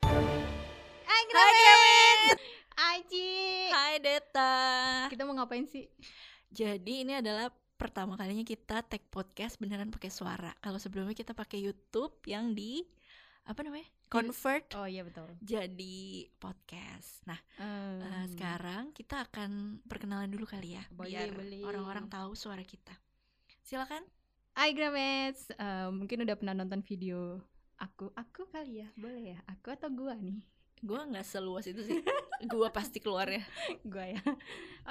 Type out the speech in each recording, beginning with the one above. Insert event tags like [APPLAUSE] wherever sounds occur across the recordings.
Hai Hai, Gremit Aji Hai Deta. Kita mau ngapain sih? Jadi ini adalah pertama kalinya kita tag podcast beneran pakai suara. Kalau sebelumnya kita pakai YouTube yang di apa namanya? Convert Oh iya betul jadi podcast. Nah, eh, Hmm. sekarang kita akan perkenalan dulu kali ya Boleh, biar boleh. orang-orang tahu suara kita. Silakan. Hai Gremets, Eh, mungkin udah pernah nonton video aku, aku kali ya, boleh ya, aku atau gua nih, Gua nggak seluas itu sih. Gua pasti keluarnya. gua ya. [LAUGHS]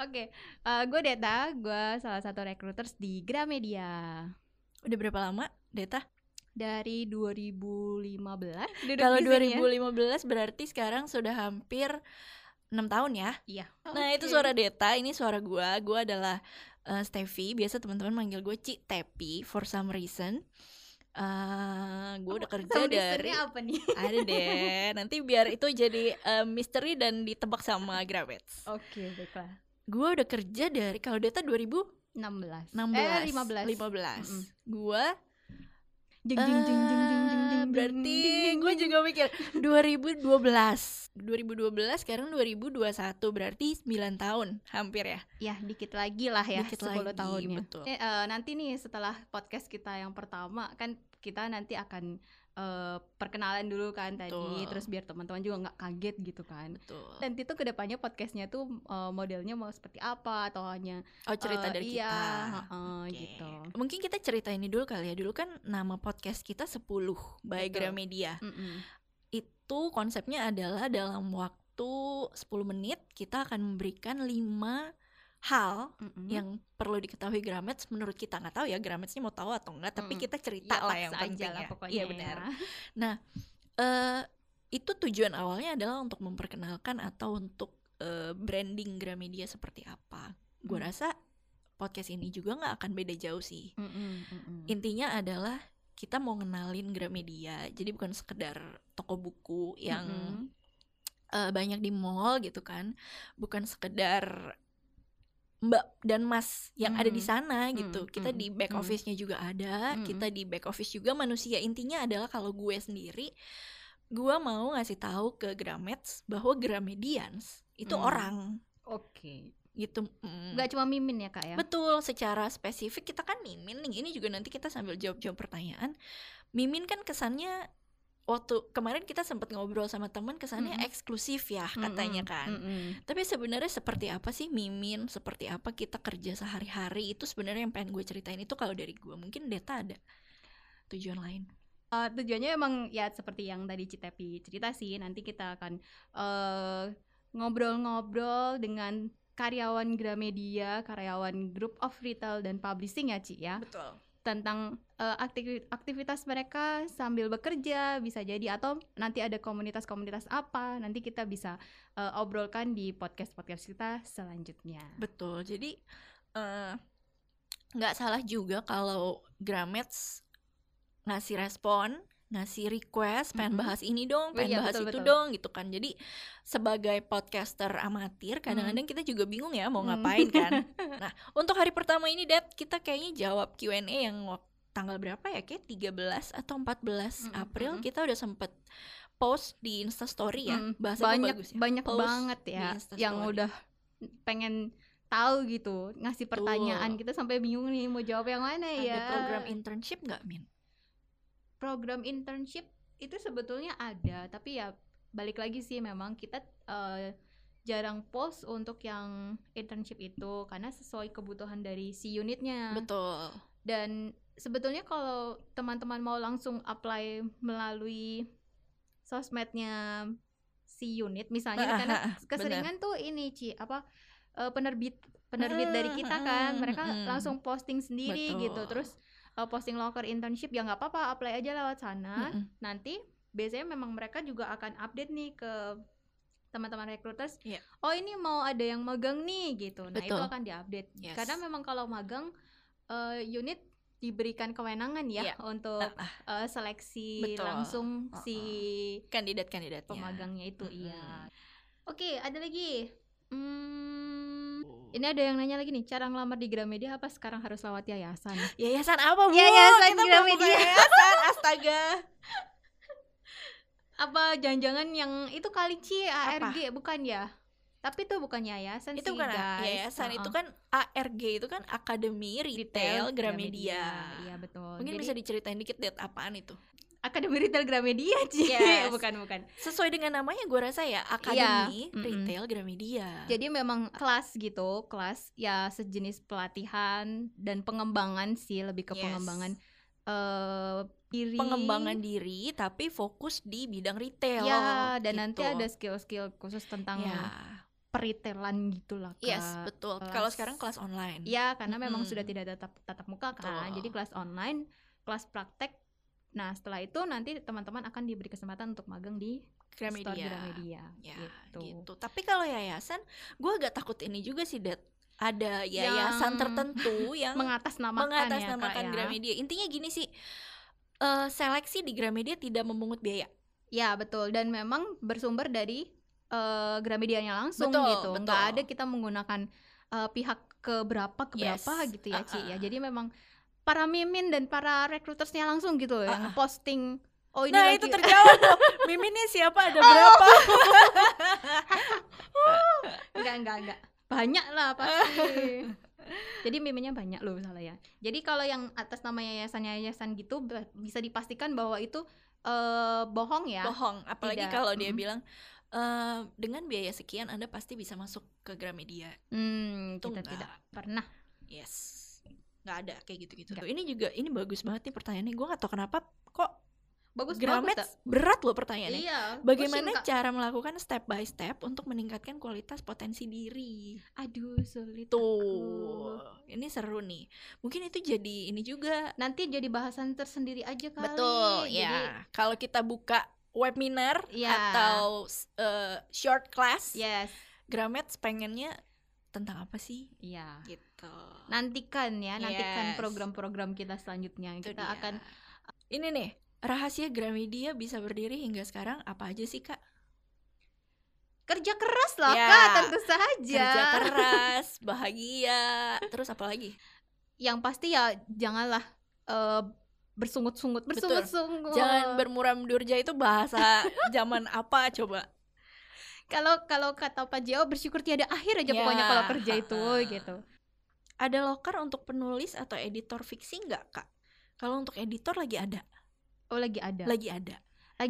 Oke, Eh, gua Deta, gua salah satu recruiters di Gramedia Udah berapa lama, Deta? dari 2015. duduk Kalau di sini ya. 2015 berarti sekarang sudah hampir 6 tahun ya. Iya. Nah itu Oke. suara Deta, ini suara gua Gua adalah eh, Steffi, biasa teman-teman manggil gue Ci Tepi for some reason. Eh, gue udah kerja Sound dari design-nya apa nih? [LAUGHS] ada deh. Nanti biar itu jadi eh, misteri dan ditebak sama Gravets. Oke, baiklah. Gua udah kerja dari kalau Deta 2016. 16. Eh, 15. 15. Mm-mm. Gua Jeng jeng jeng jeng jeng jeng Ah, jeng. berarti jeng, jeng, gue jeng. juga mikir 2012 2012 sekarang 2021 berarti 9 tahun hampir ya ya dikit lagi lah ya Dikit 10 lagi, tahunnya. betul. Eh, eh, nanti nih setelah podcast kita yang pertama kan kita nanti akan eh, perkenalan dulu kan tadi Betul. terus biar teman-teman juga nggak kaget gitu kan. betul Dan itu kedepannya podcastnya tuh eh, modelnya mau seperti apa atau hanya oh eh, cerita dari iya, kita heeh, Oke. gitu. Mungkin kita cerita ini dulu kali ya. Dulu kan nama podcast kita 10 by Betul. Gramedia. Mm-mm. Itu konsepnya adalah dalam waktu 10 menit kita akan memberikan 5 hal Mm-mm. yang perlu diketahui Gramets menurut kita nggak tahu ya Grametsnya mau tahu atau enggak tapi Mm-mm. kita cerita Ya, lah paksa yang aja penting lah ya. pokoknya iya ya. benar Eh, itu tujuan awalnya adalah untuk memperkenalkan atau untuk eh, branding Gramedia seperti apa gue Hmm. rasa podcast ini juga nggak akan beda jauh sih Mm-mm, mm-mm. intinya adalah kita mau ngenalin Gramedia jadi bukan sekedar toko buku yang Mm-mm. eh, banyak di mall gitu kan bukan sekedar mbak dan mas yang ada di Mm. sana gitu Mm, kita mm, di back mm. office-nya juga ada Mm, kita di back office juga manusia intinya adalah kalau gue sendiri gue mau ngasih tahu ke Gramets bahwa Gramedians itu Mm. orang Oke. gitu Mm. Nggak cuma mimin ya, Kak ya? Betul, secara spesifik kita kan mimin nih. Ini juga nanti kita sambil jawab-jawab pertanyaan. Mimin kan kesannya waktu kemarin kita sempat ngobrol sama teman kesannya Mm-mm. eksklusif ya Hmm, katanya Mm-mm, kan. mm-mm. Tapi sebenarnya seperti apa sih mimin? Seperti apa kita kerja sehari-hari? Itu sebenarnya yang pengen gue ceritain itu kalau dari gue mungkin Deta ada tujuan lain. Eh, tujuannya emang ya seperti yang tadi Citepi cerita sih nanti kita akan eh, ngobrol-ngobrol dengan karyawan Gramedia, karyawan Group of Retail dan Publishing ya Ci ya Betul. tentang eh, aktivi- aktivitas mereka sambil bekerja bisa jadi atau nanti ada komunitas-komunitas apa nanti kita bisa eh, obrolkan di podcast-podcast kita selanjutnya. Betul. Jadi eh, nggak salah juga kalau Gramets ngasih respon, ngasih request, pengen Mm-mm. bahas ini dong, Oh pengen iya, bahas betul, itu betul. dong gitu kan. Jadi sebagai podcaster amatir, Mm. kadang-kadang kita juga bingung ya mau Hmm. ngapain [LAUGHS] kan. nah, untuk hari pertama ini Det, kita kayaknya jawab Q&A yang wak- tanggal berapa ya? Kayak 13 atau 14 Mm-mm, April mm-mm. kita udah sempet post di Insta Story ya. Mm, Bahasa banyak bagus ya. banyak Post banget di ya Instastory. yang udah pengen tahu gitu ngasih Betul. pertanyaan kita sampai bingung nih mau jawab yang mana ya Ada program internship nggak, Min? Program internship itu sebetulnya ada tapi ya balik lagi sih memang kita eh, jarang post untuk yang internship itu karena sesuai kebutuhan dari si unitnya Betul. dan sebetulnya kalau teman-teman mau langsung apply melalui sosmednya si unit misalnya Ah, karena ah, ah, keseringan tuh ini Ci apa eh, penerbit penerbit dari Hmm, kita hmm, kan mereka hmm. langsung posting sendiri Betul. gitu terus eh, posting locker internship ya nggak apa-apa apply aja lewat sana Mm-mm. nanti biasanya memang mereka juga akan update nih ke teman-teman recruiters Iya. oh ini mau ada yang magang nih gitu nah itu Betul. akan diupdate Yes. karena memang kalau magang eh, unit diberikan kewenangan ya Iya. untuk Ah, ah, eh, seleksi Betul. langsung Ah, si kandidat-kandidatnya. pemagangnya itu iya Mm-mm. Mm. oke ada lagi hmm, Ini ada yang nanya lagi nih, cara ngelamar di Gramedia apa sekarang harus lewat yayasan? Ya. Yayasan apa bu? Yayasan Kita belum Gramedia. buka Yayasan, astaga. Apa jangan-jangan yang itu kali Ci ARG bukan ya? Tapi [LAUGHS] itu bukan yayasan itu sih, kan guys. yayasan Heeh. itu kan ARG itu kan Akademi Retail, Gramedia. Iya betul. Mungkin Jadi, bisa diceritain dikit deh apaan itu. Akademi Retail Gramedia Ci. Yes. [LAUGHS] bukan bukan. Sesuai dengan namanya gue rasa ya Iya. Akademi mm-mm. Retail Gramedia. Jadi memang kelas gitu, kelas ya sejenis pelatihan dan pengembangan sih lebih ke Yes. pengembangan eh diri. pengembangan diri tapi fokus di bidang retail. Ya, dan gitu. nanti ada Iya. skill-skill khusus tentang ya. peritailan gitulah Kak. Yes, betul. kelas. Kalau sekarang kelas online. Iya, karena memang Mm-mm. sudah tidak ada tatap, tatap muka kan. Betul. Jadi kelas online, kelas praktek. Nah, setelah itu nanti teman-teman akan diberi kesempatan untuk magang di store Gramedia. Gramedia. Ya, gitu. gitu. Tapi kalau yayasan, gue agak takut ini juga sih, Dad. Ada yayasan Yang tertentu yang Mengatasnamakan, mengatasnamakan ya, Kak, ya. Gramedia. Intinya gini sih, eh, seleksi di Gramedia tidak memungut biaya. Ya, betul. Dan memang bersumber dari eh, Gramedianya langsung Betul, gitu. Nggak betul. ada kita menggunakan eh, pihak ke berapa ke Yes. berapa gitu ya, Ci. Uh-uh. Ya, jadi memang para mimin dan para rekrutersnya langsung gitu loh yang posting oh ini Ah, nah lagi itu [LAUGHS] terjawab tuh. Miminnya siapa? Ada berapa? enggak enggak enggak banyak lah [LAUGHS] pasti jadi miminya banyak loh salah ya jadi kalau yang atas nama yayasan yayasan gitu be- bisa dipastikan bahwa itu eh bohong ya Bohong. Apalagi Tidak, kalau dia mm. bilang "Eh, dengan biaya sekian Anda pasti bisa masuk ke Gramedia. hmm, Itu kita enggak. tidak pernah Yes. Nggak ada kayak gitu-gitu. Nggak. Tuh. Ini juga ini bagus banget nih pertanyaannya. Gue nggak tahu kenapa kok bagus Gramet bagus berat loh tak? pertanyaannya. iya Bagaimana pusing, Kak. cara melakukan step by step untuk meningkatkan kualitas potensi diri? aduh sulit Tuh, aku. ini seru nih. Mungkin itu jadi ini juga. nanti jadi bahasan tersendiri aja kali Jadi, ya. Kalau kita buka webinar Ya. atau eh, short class, yes Gramet pengennya tentang apa sih? iya Gitu. nantikan ya nantikan Yes. program-program kita selanjutnya Itu kita dia. akan ini nih rahasia Gramedia bisa berdiri hingga sekarang apa aja sih kak? kerja keras lah Ya, kak tentu saja Kerja keras, bahagia, terus apa lagi? yang pasti ya janganlah eh, bersungut-sungut Betul. bersungut-sungut Jangan bermuram durja itu [LAUGHS] bahasa zaman apa coba? kalau kalau kata Pak Jeo bersyukur tiada akhir aja Ya, pokoknya kalau kerja itu ha-ha. gitu Ada loker untuk penulis atau editor fiksi nggak kak? Kalau untuk editor lagi ada, oh lagi ada lagi, lagi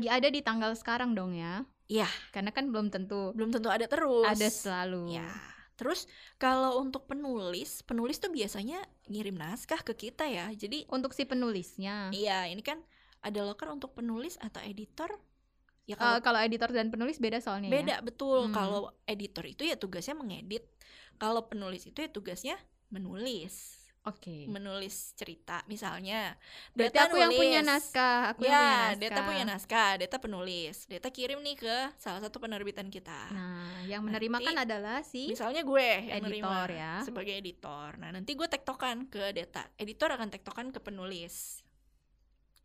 ada. ada di tanggal sekarang dong ya Iya. karena kan belum tentu Belum tentu ada terus. ada selalu Ya. Terus kalau untuk penulis, penulis tuh biasanya ngirim naskah ke kita ya. Jadi untuk si penulisnya iya ini kan ada loker untuk penulis atau editor. Ya Eh, kalau kalau editor dan penulis beda soalnya ya. beda betul Hmm. kalau editor itu ya tugasnya mengedit kalau penulis itu ya tugasnya menulis oke Mm. menulis cerita misalnya berarti Deta aku yang punya nulis. naskah aku ya yang punya naskah Deta punya naskah Deta penulis Deta kirim nih ke salah satu penerbitan kita nah yang menerima Nanti kan adalah si misalnya gue yang Editor nerima ya. sebagai editor nah nanti gue tektokan ke Deta editor akan tektokan ke penulis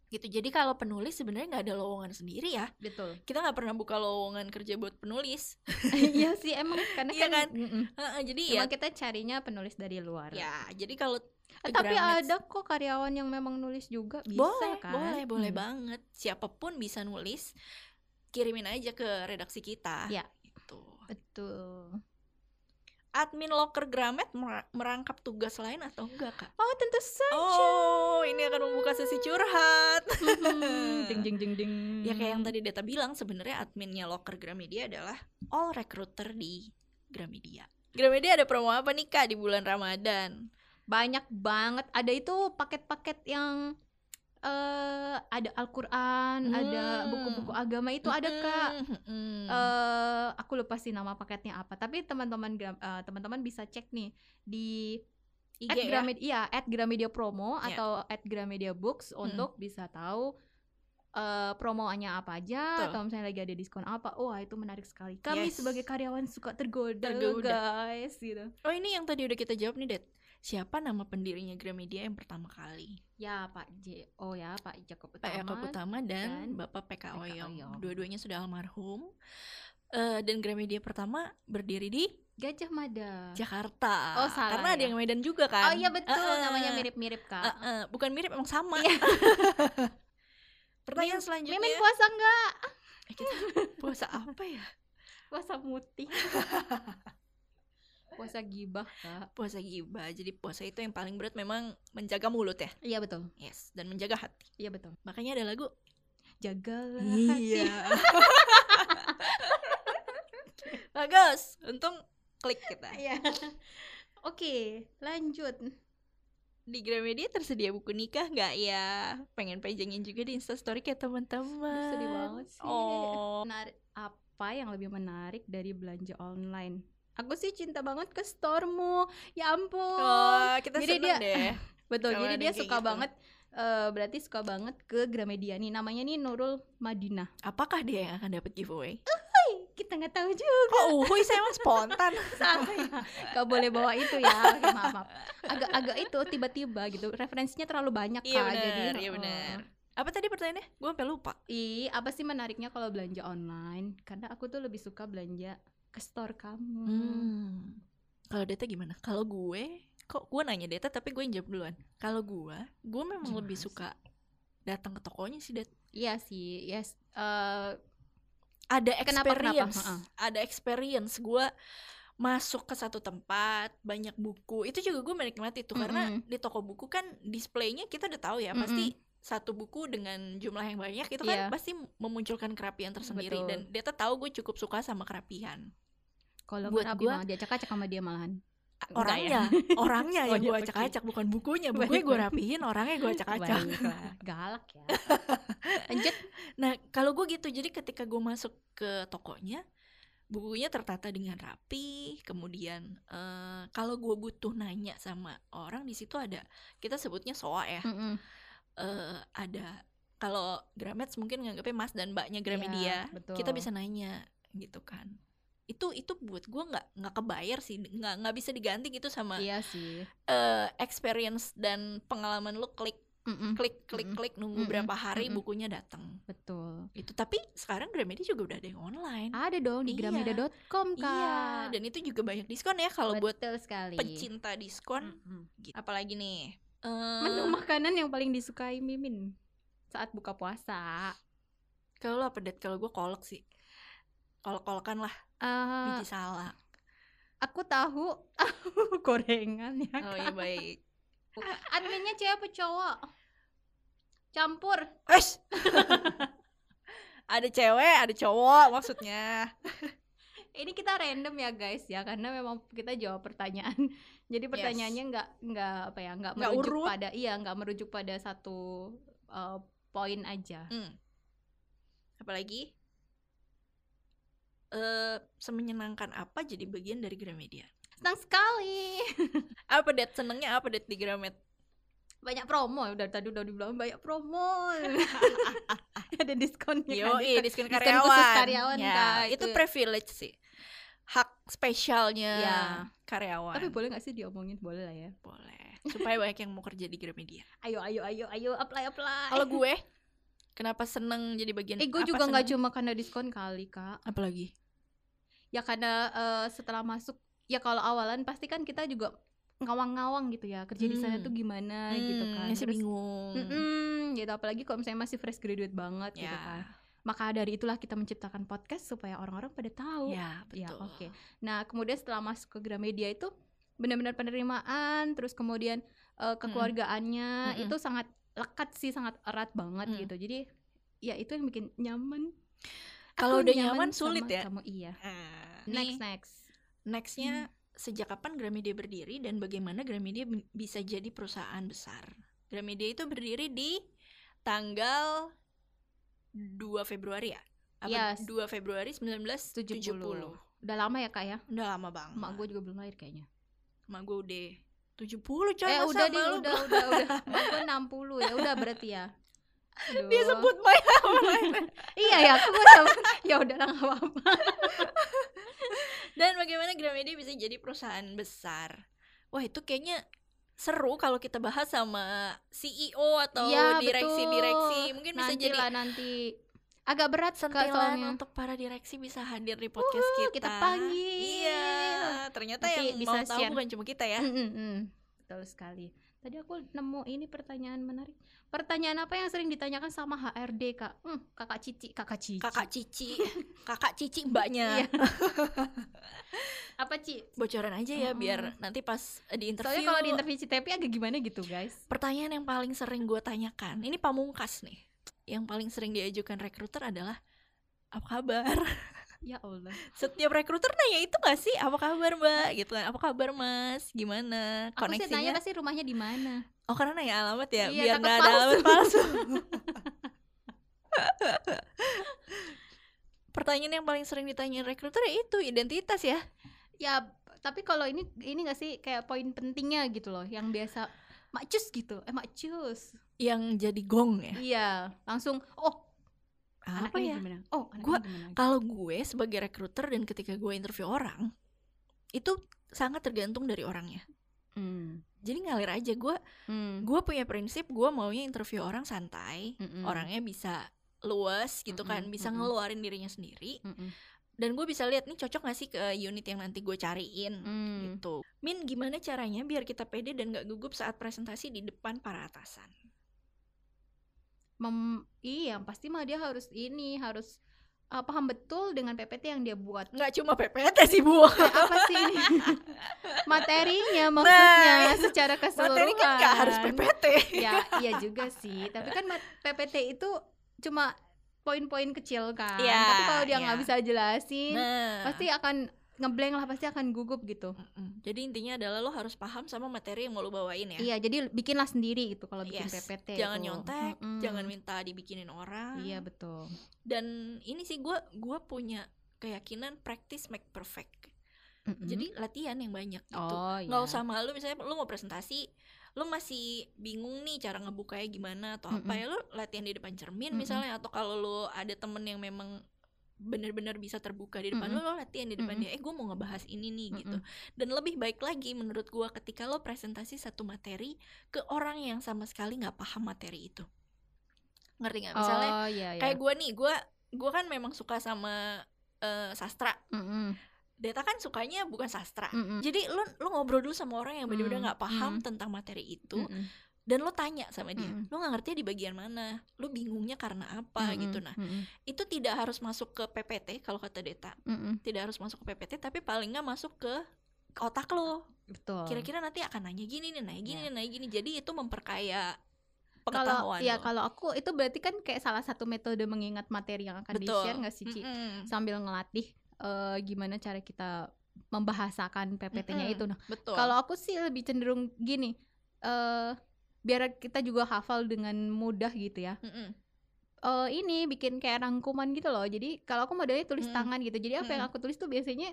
gitu jadi kalau penulis sebenarnya nggak ada lowongan sendiri ya [LAUGHS] betul kita nggak pernah buka lowongan kerja buat penulis [LAUGHS] iya sih emang karena Iya kan, kan? Mm-mm. Heeh, jadi ya Cuma kita carinya penulis dari luar. ya jadi kalau Eh, tapi Gramedia- ada kok karyawan yang memang nulis juga bisa boleh kan? boleh boleh Hmm. banget siapapun bisa nulis kirimin aja ke redaksi kita Ya. gitu Betul. admin locker Gramet mer- merangkap tugas lain atau enggak kak Oh, tentu [LAUGHS] saja. oh ini akan membuka sesi curhat Hmm, ding ding ding ding. ya kayak Hmm. yang tadi Deta bilang sebenarnya adminnya locker Gramedia adalah all recruiter di Gramedia Gramedia ada promo apa nih kak di bulan Ramadan banyak banget. Ada itu paket-paket yang eh ada Al-Qur'an, ada Hmm. buku-buku agama itu ada Kak. Mm, mm. eh aku lupa sih nama paketnya apa, tapi teman-teman Gram- eh, teman-teman bisa cek nih di IG at ya? Gramedia, iya, at Gramedia Promo Iya. Mhm. atau at Gramedia Books untuk bisa tahu eh promoannya apa aja Betul. atau misalnya lagi ada diskon apa. Wah, itu menarik sekali. Kami Yes. sebagai karyawan suka tergoda, Tergoda. guys gitu. Oh ini yang tadi udah kita jawab nih, Det. Siapa nama pendirinya Gramedia yang pertama kali? Ya, Pak J. Oh ya, Pak Jakob Pak Utama. Yakob Utama dan, dan Bapak PK PK Oyong. Oyong. Dua-duanya sudah almarhum. Eh, dan Gramedia pertama berdiri di Gajah Mada. Jakarta. Oh, salah Karena ada ya. yang Medan juga Oh kan. iya betul, Eh, eh, namanya mirip-mirip eh, kak. eh, bukan mirip emang sama. Iya. [LAUGHS] Pertanyaan selanjutnya. Mimin puasa nggak? Eh, kita puasa apa ya? Puasa [LAUGHS] mutih. puasa gibah kak. Puasa gibah. Jadi puasa itu yang paling berat memang menjaga mulut ya. Iya betul, Yes, dan menjaga hati. iya betul. Makanya ada lagu. Iya. Jagalah hati. [LAUGHS] Bagus. Untung klik kita. [LAUGHS] Iya. Oke, lanjut. Di Gramedia tersedia buku nikah nggak ya? Pengen panjangin juga di Instastory ya teman-teman. Aduh, sedih banget sih. Oh. Menar- apa yang lebih menarik dari belanja online? Aku sih cinta banget ke storemu. Ya ampun. Oh, kita Jadi seneng dia- deh. Betul. Kalau Jadi ada dia yang kayak suka gitu. banget eh, berarti suka banget ke Gramedia nih. Namanya nih Nurul Madinah. [LAUGHS] Apakah dia yang akan dapat giveaway? Hei, kita nggak tahu juga. Oh, uhuy, saya emang spontan. [LAUGHS] Salah ya. Gak boleh bawa itu ya. Oke, maaf, maaf. Agak-agak itu tiba-tiba gitu. Referensinya terlalu banyak Iya Kak. Jadi, benar, iya oh. benar. [LAUGHS] Apa tadi pertanyaannya? Gue sampai lupa. Ih, apa sih menariknya kalau belanja online? Karena aku tuh lebih suka belanja ke store kamu. Hmm. Kalau Deta gimana? Kalau gue, kok gue nanya Deta tapi gue yang jawab duluan. Kalau gue, gue memang Gimana lebih sih? suka datang ke tokonya sih. Dat. Iya sih, yes. Eh, Ada Kenapa, kenapa? experience, Heeh. ada experience gue masuk ke satu tempat banyak buku itu juga gue menikmati tuh karena Mm-mm. di toko buku kan displaynya kita udah tahu ya Mm-mm. pasti satu buku dengan jumlah yang banyak itu Iya. kan pasti memunculkan kerapian tersendiri Betul. dan Deta tahu gue cukup suka sama kerapian kalau Buat buat gua- gua ya? diacak acak sama dia malahan. ya? orangnya [LAUGHS] orangnya Banyak yang gue Oh iya, oke. acak-acak bukan bukunya bukunya Baik, gue baik. rapihin orangnya gue acak-acak Baiklah, galak [LAUGHS] ya. Lanjut. nah kalau gue gitu jadi ketika gue masuk ke tokonya bukunya tertata dengan rapi kemudian eh, kalau gue butuh nanya sama orang di situ ada kita sebutnya soa ya Mm-mm. Eh, ada kalau Gramets mungkin nganggapnya mas dan mbaknya Gramedia Iya, betul. kita bisa nanya gitu kan itu itu buat gue nggak nggak kebayar sih nggak nggak bisa diganti gitu sama Iya sih. eh, experience dan pengalaman lu klik Mm-mm. klik klik Mm-mm. klik nunggu Mm-mm. berapa hari Mm-mm. bukunya datang Betul. itu Gitu. tapi sekarang Gramedia juga udah ada yang online Ada dong di Iya. gramedia.com kak. iya dan itu juga banyak diskon ya kalau buat Betul sekali. pencinta diskon Mm-mm. gitu. apalagi nih eh, Menu makanan yang paling disukai Mimin saat buka puasa. kalau lu apa Det? kalau gue kolek sih kolek-kolekan lah Eh, biji salak aku tahu [LAUGHS] gorengan ya. oh iya [LAUGHS] baik Adminnya cewek apa cowok? Campur. Wesh! [LAUGHS] ada cewek ada cowok maksudnya Ini kita random ya guys ya karena memang kita jawab pertanyaan. [LAUGHS] Jadi pertanyaannya nggak nggak apa ya nggak Nggak merujuk urut. pada iya nggak merujuk pada satu eh, poin aja. Hmm. Apalagi eh semenyenangkan apa jadi bagian dari Gramedia? Senang sekali. [LAUGHS] Apa det senengnya apa det di Gramet? Banyak promo ya, udah tadi udah dibilang banyak promo. [LAUGHS] Ada diskonnya. kan, Yo, diskon- diskon diskon karyawan. khusus karyawan, Iya. Ya, Kak, itu itu. privilege sih. Hak spesialnya Ya. karyawan. Tapi boleh nggak sih diomongin? Boleh lah ya. boleh. Supaya banyak yang mau kerja di Gramedia. [LAUGHS] Ayo ayo ayo ayo apply apply. Kalau gue kenapa seneng jadi bagian eh gue apa juga nggak seneng? cuma karena diskon kali kak. apalagi ya karena eh, setelah masuk ya kalau awalan pasti kan kita juga ngawang-ngawang gitu ya kerja di sana Hmm. tuh gimana gitu Hmm, kan ya sih Terus, bingung. "Mm-mm," gitu apalagi kalau misalnya masih fresh graduate banget Ya, gitu kan maka dari itulah kita menciptakan podcast supaya orang-orang pada tahu ya, betul. Ya, oke. nah kemudian setelah masuk ke Gramedia itu benar-benar penerimaan terus kemudian eh, Hmm. kekeluargaannya Mm-mm. itu sangat lekat sih sangat erat banget Mm. gitu jadi ya itu yang bikin nyaman Kalau Aku udah nyaman, sulit sama ya? kamu iya Ah, nih. next next Hmm. Nextnya sejak kapan Gramedia berdiri dan bagaimana Gramedia bi- bisa jadi perusahaan besar? Gramedia itu berdiri di tanggal 2 Februari ya? Apa Yes. 2 Februari 1970. 70. Udah lama ya kak ya? Udah lama banget. Emak gue juga belum lahir kayaknya. Emak gua udah 70 coy eh masa udah emak deh, lu udah, udah, udah. Emak gue 60 ya, udah berarti ya. Aduh. [LAUGHS] Dia sebut my [LAUGHS] Iya ya, aku gak sebut. [LAUGHS] ya udah lah nggak apa-apa. Dan bagaimana Gramedia bisa jadi perusahaan besar? Wah itu kayaknya seru kalau kita bahas sama CEO atau Iya, direksi-direksi betul. mungkin bisa nanti jadi lah nanti. Agak berat Kak, sentilan soalnya. untuk para direksi bisa hadir di podcast kita kita. panggil. Iya. ternyata Nanti yang bisa mau tahu share. bukan cuma kita ya. Mm, mm, mm. Betul sekali. Tadi aku nemu ini pertanyaan menarik. Pertanyaan apa yang sering ditanyakan sama HRD, Kak? Hmm, kakak Cici, Kakak Cici. Kakak Cici, [LAUGHS] Kakak Cici Iya. mbaknya. [LAUGHS] apa, Ci? Bocoran aja ya Mm-mm. biar nanti pas di interview. Soalnya kalau di interview CTP agak gimana gitu, guys. pertanyaan yang paling sering gue tanyakan, ini pamungkas nih. Yang paling sering diajukan rekruter adalah apa kabar? [LAUGHS] Ya Allah. Setiap rekruter nanya itu gak sih? Apa kabar mbak? Gitu kan? Apa kabar mas? Gimana? Aku sih tanya Koneksinya? pasti rumahnya di mana. Oh karena nanya alamat ya? Iya, biar takut gak ada palsu. alamat [LAUGHS] palsu. Pertanyaan yang paling sering ditanyain rekruter ya itu identitas ya. Ya, tapi kalau ini ini gak sih kayak poin pentingnya gitu loh, yang biasa Macus gitu, eh Macus Yang jadi gong ya. Iya, langsung, oh anaknya Apa ya? gimana? Oh, anaknya Gua- gimana? Kalau gue sebagai rekruter dan ketika gue interview orang, itu sangat tergantung dari orangnya. Hmm. jadi ngalir aja gue Hmm. gue punya prinsip gue maunya interview orang santai Mm-mm. orangnya bisa luas gitu kan Mm-mm, bisa mm-mm. ngeluarin dirinya sendiri Mm-mm. dan gue bisa lihat nih cocok gak sih ke unit yang nanti gue cariin Hmm. gitu min gimana caranya biar kita pede dan gak gugup saat presentasi di depan para atasan mem iya pasti mah dia harus ini harus uh, paham betul dengan PPT yang dia buat nggak cuma PPT sih bu Kayak Nah, apa sih [LAUGHS] ini? materinya maksudnya secara keseluruhan Nah, iya. materi kan gak harus PPT ya iya juga sih tapi kan mat- PPT itu cuma poin-poin kecil kan Iya, tapi kalau dia iya. nggak bisa jelasin nah pasti akan ngeblank lah pasti akan gugup gitu Mm-mm. jadi intinya adalah lo harus paham sama materi yang mau lo bawain ya iya jadi bikinlah sendiri gitu kalau bikin Yes. PPT jangan tuh. nyontek Mm-mm. jangan minta dibikinin orang iya betul dan ini sih gue gua punya keyakinan practice make perfect Mm-mm. jadi latihan yang banyak gitu oh nggak iya. usah malu misalnya lu mau presentasi lu masih bingung nih cara ngebukanya gimana atau apa Mm-mm. ya lu latihan di depan cermin Mm-mm. misalnya atau kalau lu ada temen yang memang bener-bener bisa terbuka di depan Mm-mm. lu, lu latihan di depan Mm-mm. dia eh gue mau ngebahas ini nih Mm-mm. gitu dan lebih baik lagi menurut gua ketika lo presentasi satu materi ke orang yang sama sekali nggak paham materi itu ngerti nggak misalnya oh, iya, iya. kayak gue nih gue gue kan memang suka sama eh, sastra Mm-mm. Deta kan sukanya bukan sastra Mm-mm. jadi lo lo ngobrol dulu sama orang yang bener-bener Mm, nggak paham mm. tentang materi itu Mm-mm. dan lo tanya sama dia Mm-mm. lo nggak ngerti di bagian mana lo bingungnya karena apa Mm-mm. gitu nah Mm-mm. itu tidak harus masuk ke PPT kalau kata Deta Mm-mm. tidak harus masuk ke PPT tapi paling nggak masuk ke ke otak Oh. lo betul kira-kira nanti akan nanya gini nih nanya gini Iya. nih nanya gini jadi itu memperkaya kalau pengetahuan ya lo. kalau aku itu berarti kan kayak salah satu metode mengingat materi yang akan di Betul. share nggak sih Ci Mm-mm. sambil ngelatih eh, gimana cara kita membahasakan PPT-nya Mm-mm. itu nah betul kalau aku sih lebih cenderung gini eh biar kita juga hafal dengan mudah gitu ya Mm-mm. eh ini bikin kayak rangkuman gitu loh jadi kalau aku modelnya tulis Mm. tangan gitu jadi apa yang Mm. aku tulis tuh biasanya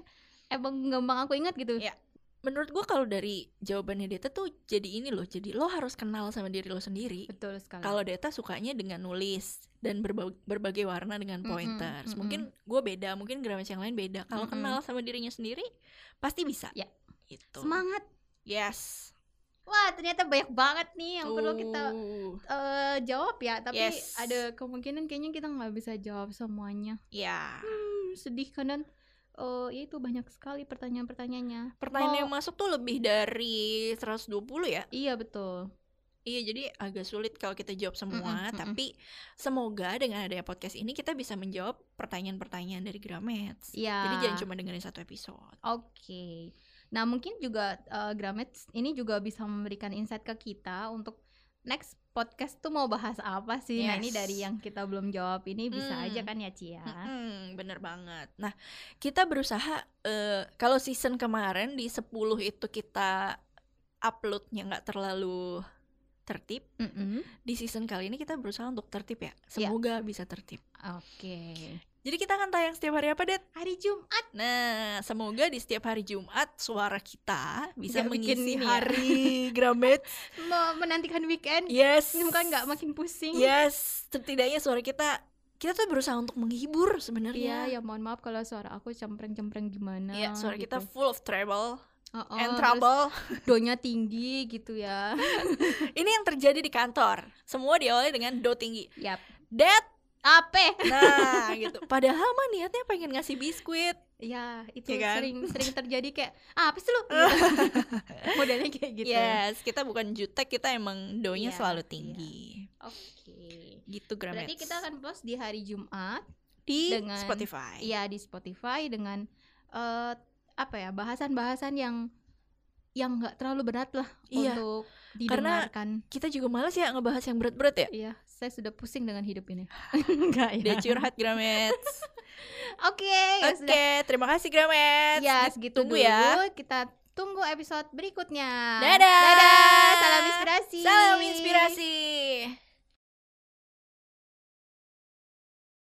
emang gampang aku ingat gitu Iya. menurut gue kalau dari jawabannya Deta tuh jadi ini loh jadi lo harus kenal sama diri lo sendiri betul sekali kalau Deta sukanya dengan nulis dan berba- berbagai warna dengan Mm-mm, pointers mm-mm. mungkin gue beda mungkin Grames yang lain beda kalau Mm-mm. kenal sama dirinya sendiri pasti bisa Ya. itu semangat yes Wah ternyata banyak banget nih yang perlu kita Tuh. eh, jawab ya Tapi Yes. ada kemungkinan kayaknya kita nggak bisa jawab semuanya ya Hmm, Sedih karena eh, ya itu banyak sekali pertanyaan-pertanyaannya pertanyaan Mau- yang masuk tuh lebih dari 120 ya Iya betul Iya jadi agak sulit kalau kita jawab semua, Mm-mm, mm-mm. tapi semoga dengan adanya podcast ini kita bisa menjawab pertanyaan-pertanyaan dari Gramets. Iya Jadi jangan cuma dengerin satu episode. Oke Nah mungkin juga eh, Gramet ini juga bisa memberikan insight ke kita Untuk next podcast tuh mau bahas apa sih Nah ini Yes. dari yang kita belum jawab ini bisa Hmm. aja kan ya Cia Mm-mm, bener banget. Nah, kita berusaha eh, kalau season kemarin di 10 itu kita uploadnya nggak terlalu tertib. Hmm. Di season kali ini kita berusaha untuk tertib ya. Iya. Semoga bisa tertib. Oke Jadi kita akan tayang setiap hari apa, Det? Hari Jumat Nah, semoga di setiap hari Jumat suara kita bisa Nggak bikin mengisi ini ya. [LAUGHS] hari Gramet. mau menantikan weekend Yes. Ini bukan nggak makin pusing. Yes, setidaknya suara kita kita tuh berusaha untuk Iya, menghibur sebenarnya. ya mohon maaf kalau suara aku cempreng-cempreng gimana. Iya, suara kita gitu. full of trouble Oh, oh, and terus trouble. [LAUGHS] Donya tinggi gitu ya. Ini yang terjadi di kantor. Semua diawali dengan do tinggi. Yap. That Apa? Nah, [LAUGHS] gitu. Padahal mah niatnya pengen ngasih biskuit. Ya, itu Ya kan? sering sering terjadi kayak ah, apa sih [LAUGHS] lu? Gitu. Modelnya kayak gitu. Yes, kita bukan jutek, kita emang donya Iya, selalu iya. tinggi. Oke. Gitu Gramets. Berarti kita akan post di hari Jumat, di dengan- Spotify. ya di Spotify dengan eh, apa ya, bahasan-bahasan yang yang nggak terlalu berat lah Iya, untuk karena- didengarkan. Kita juga males ya ngebahas yang berat-berat ya. Iya, saya sudah pusing dengan hidup ini. [LAUGHS] Enggak [LAUGHS] ya. Dia curhat Gramets. Oke, ya [LAUGHS] Oke, sudah. terima kasih Gramets. Ya, segitu Ditunggu dulu. ya. Kita tunggu episode berikutnya. Dadah. Salam inspirasi. Salam inspirasi.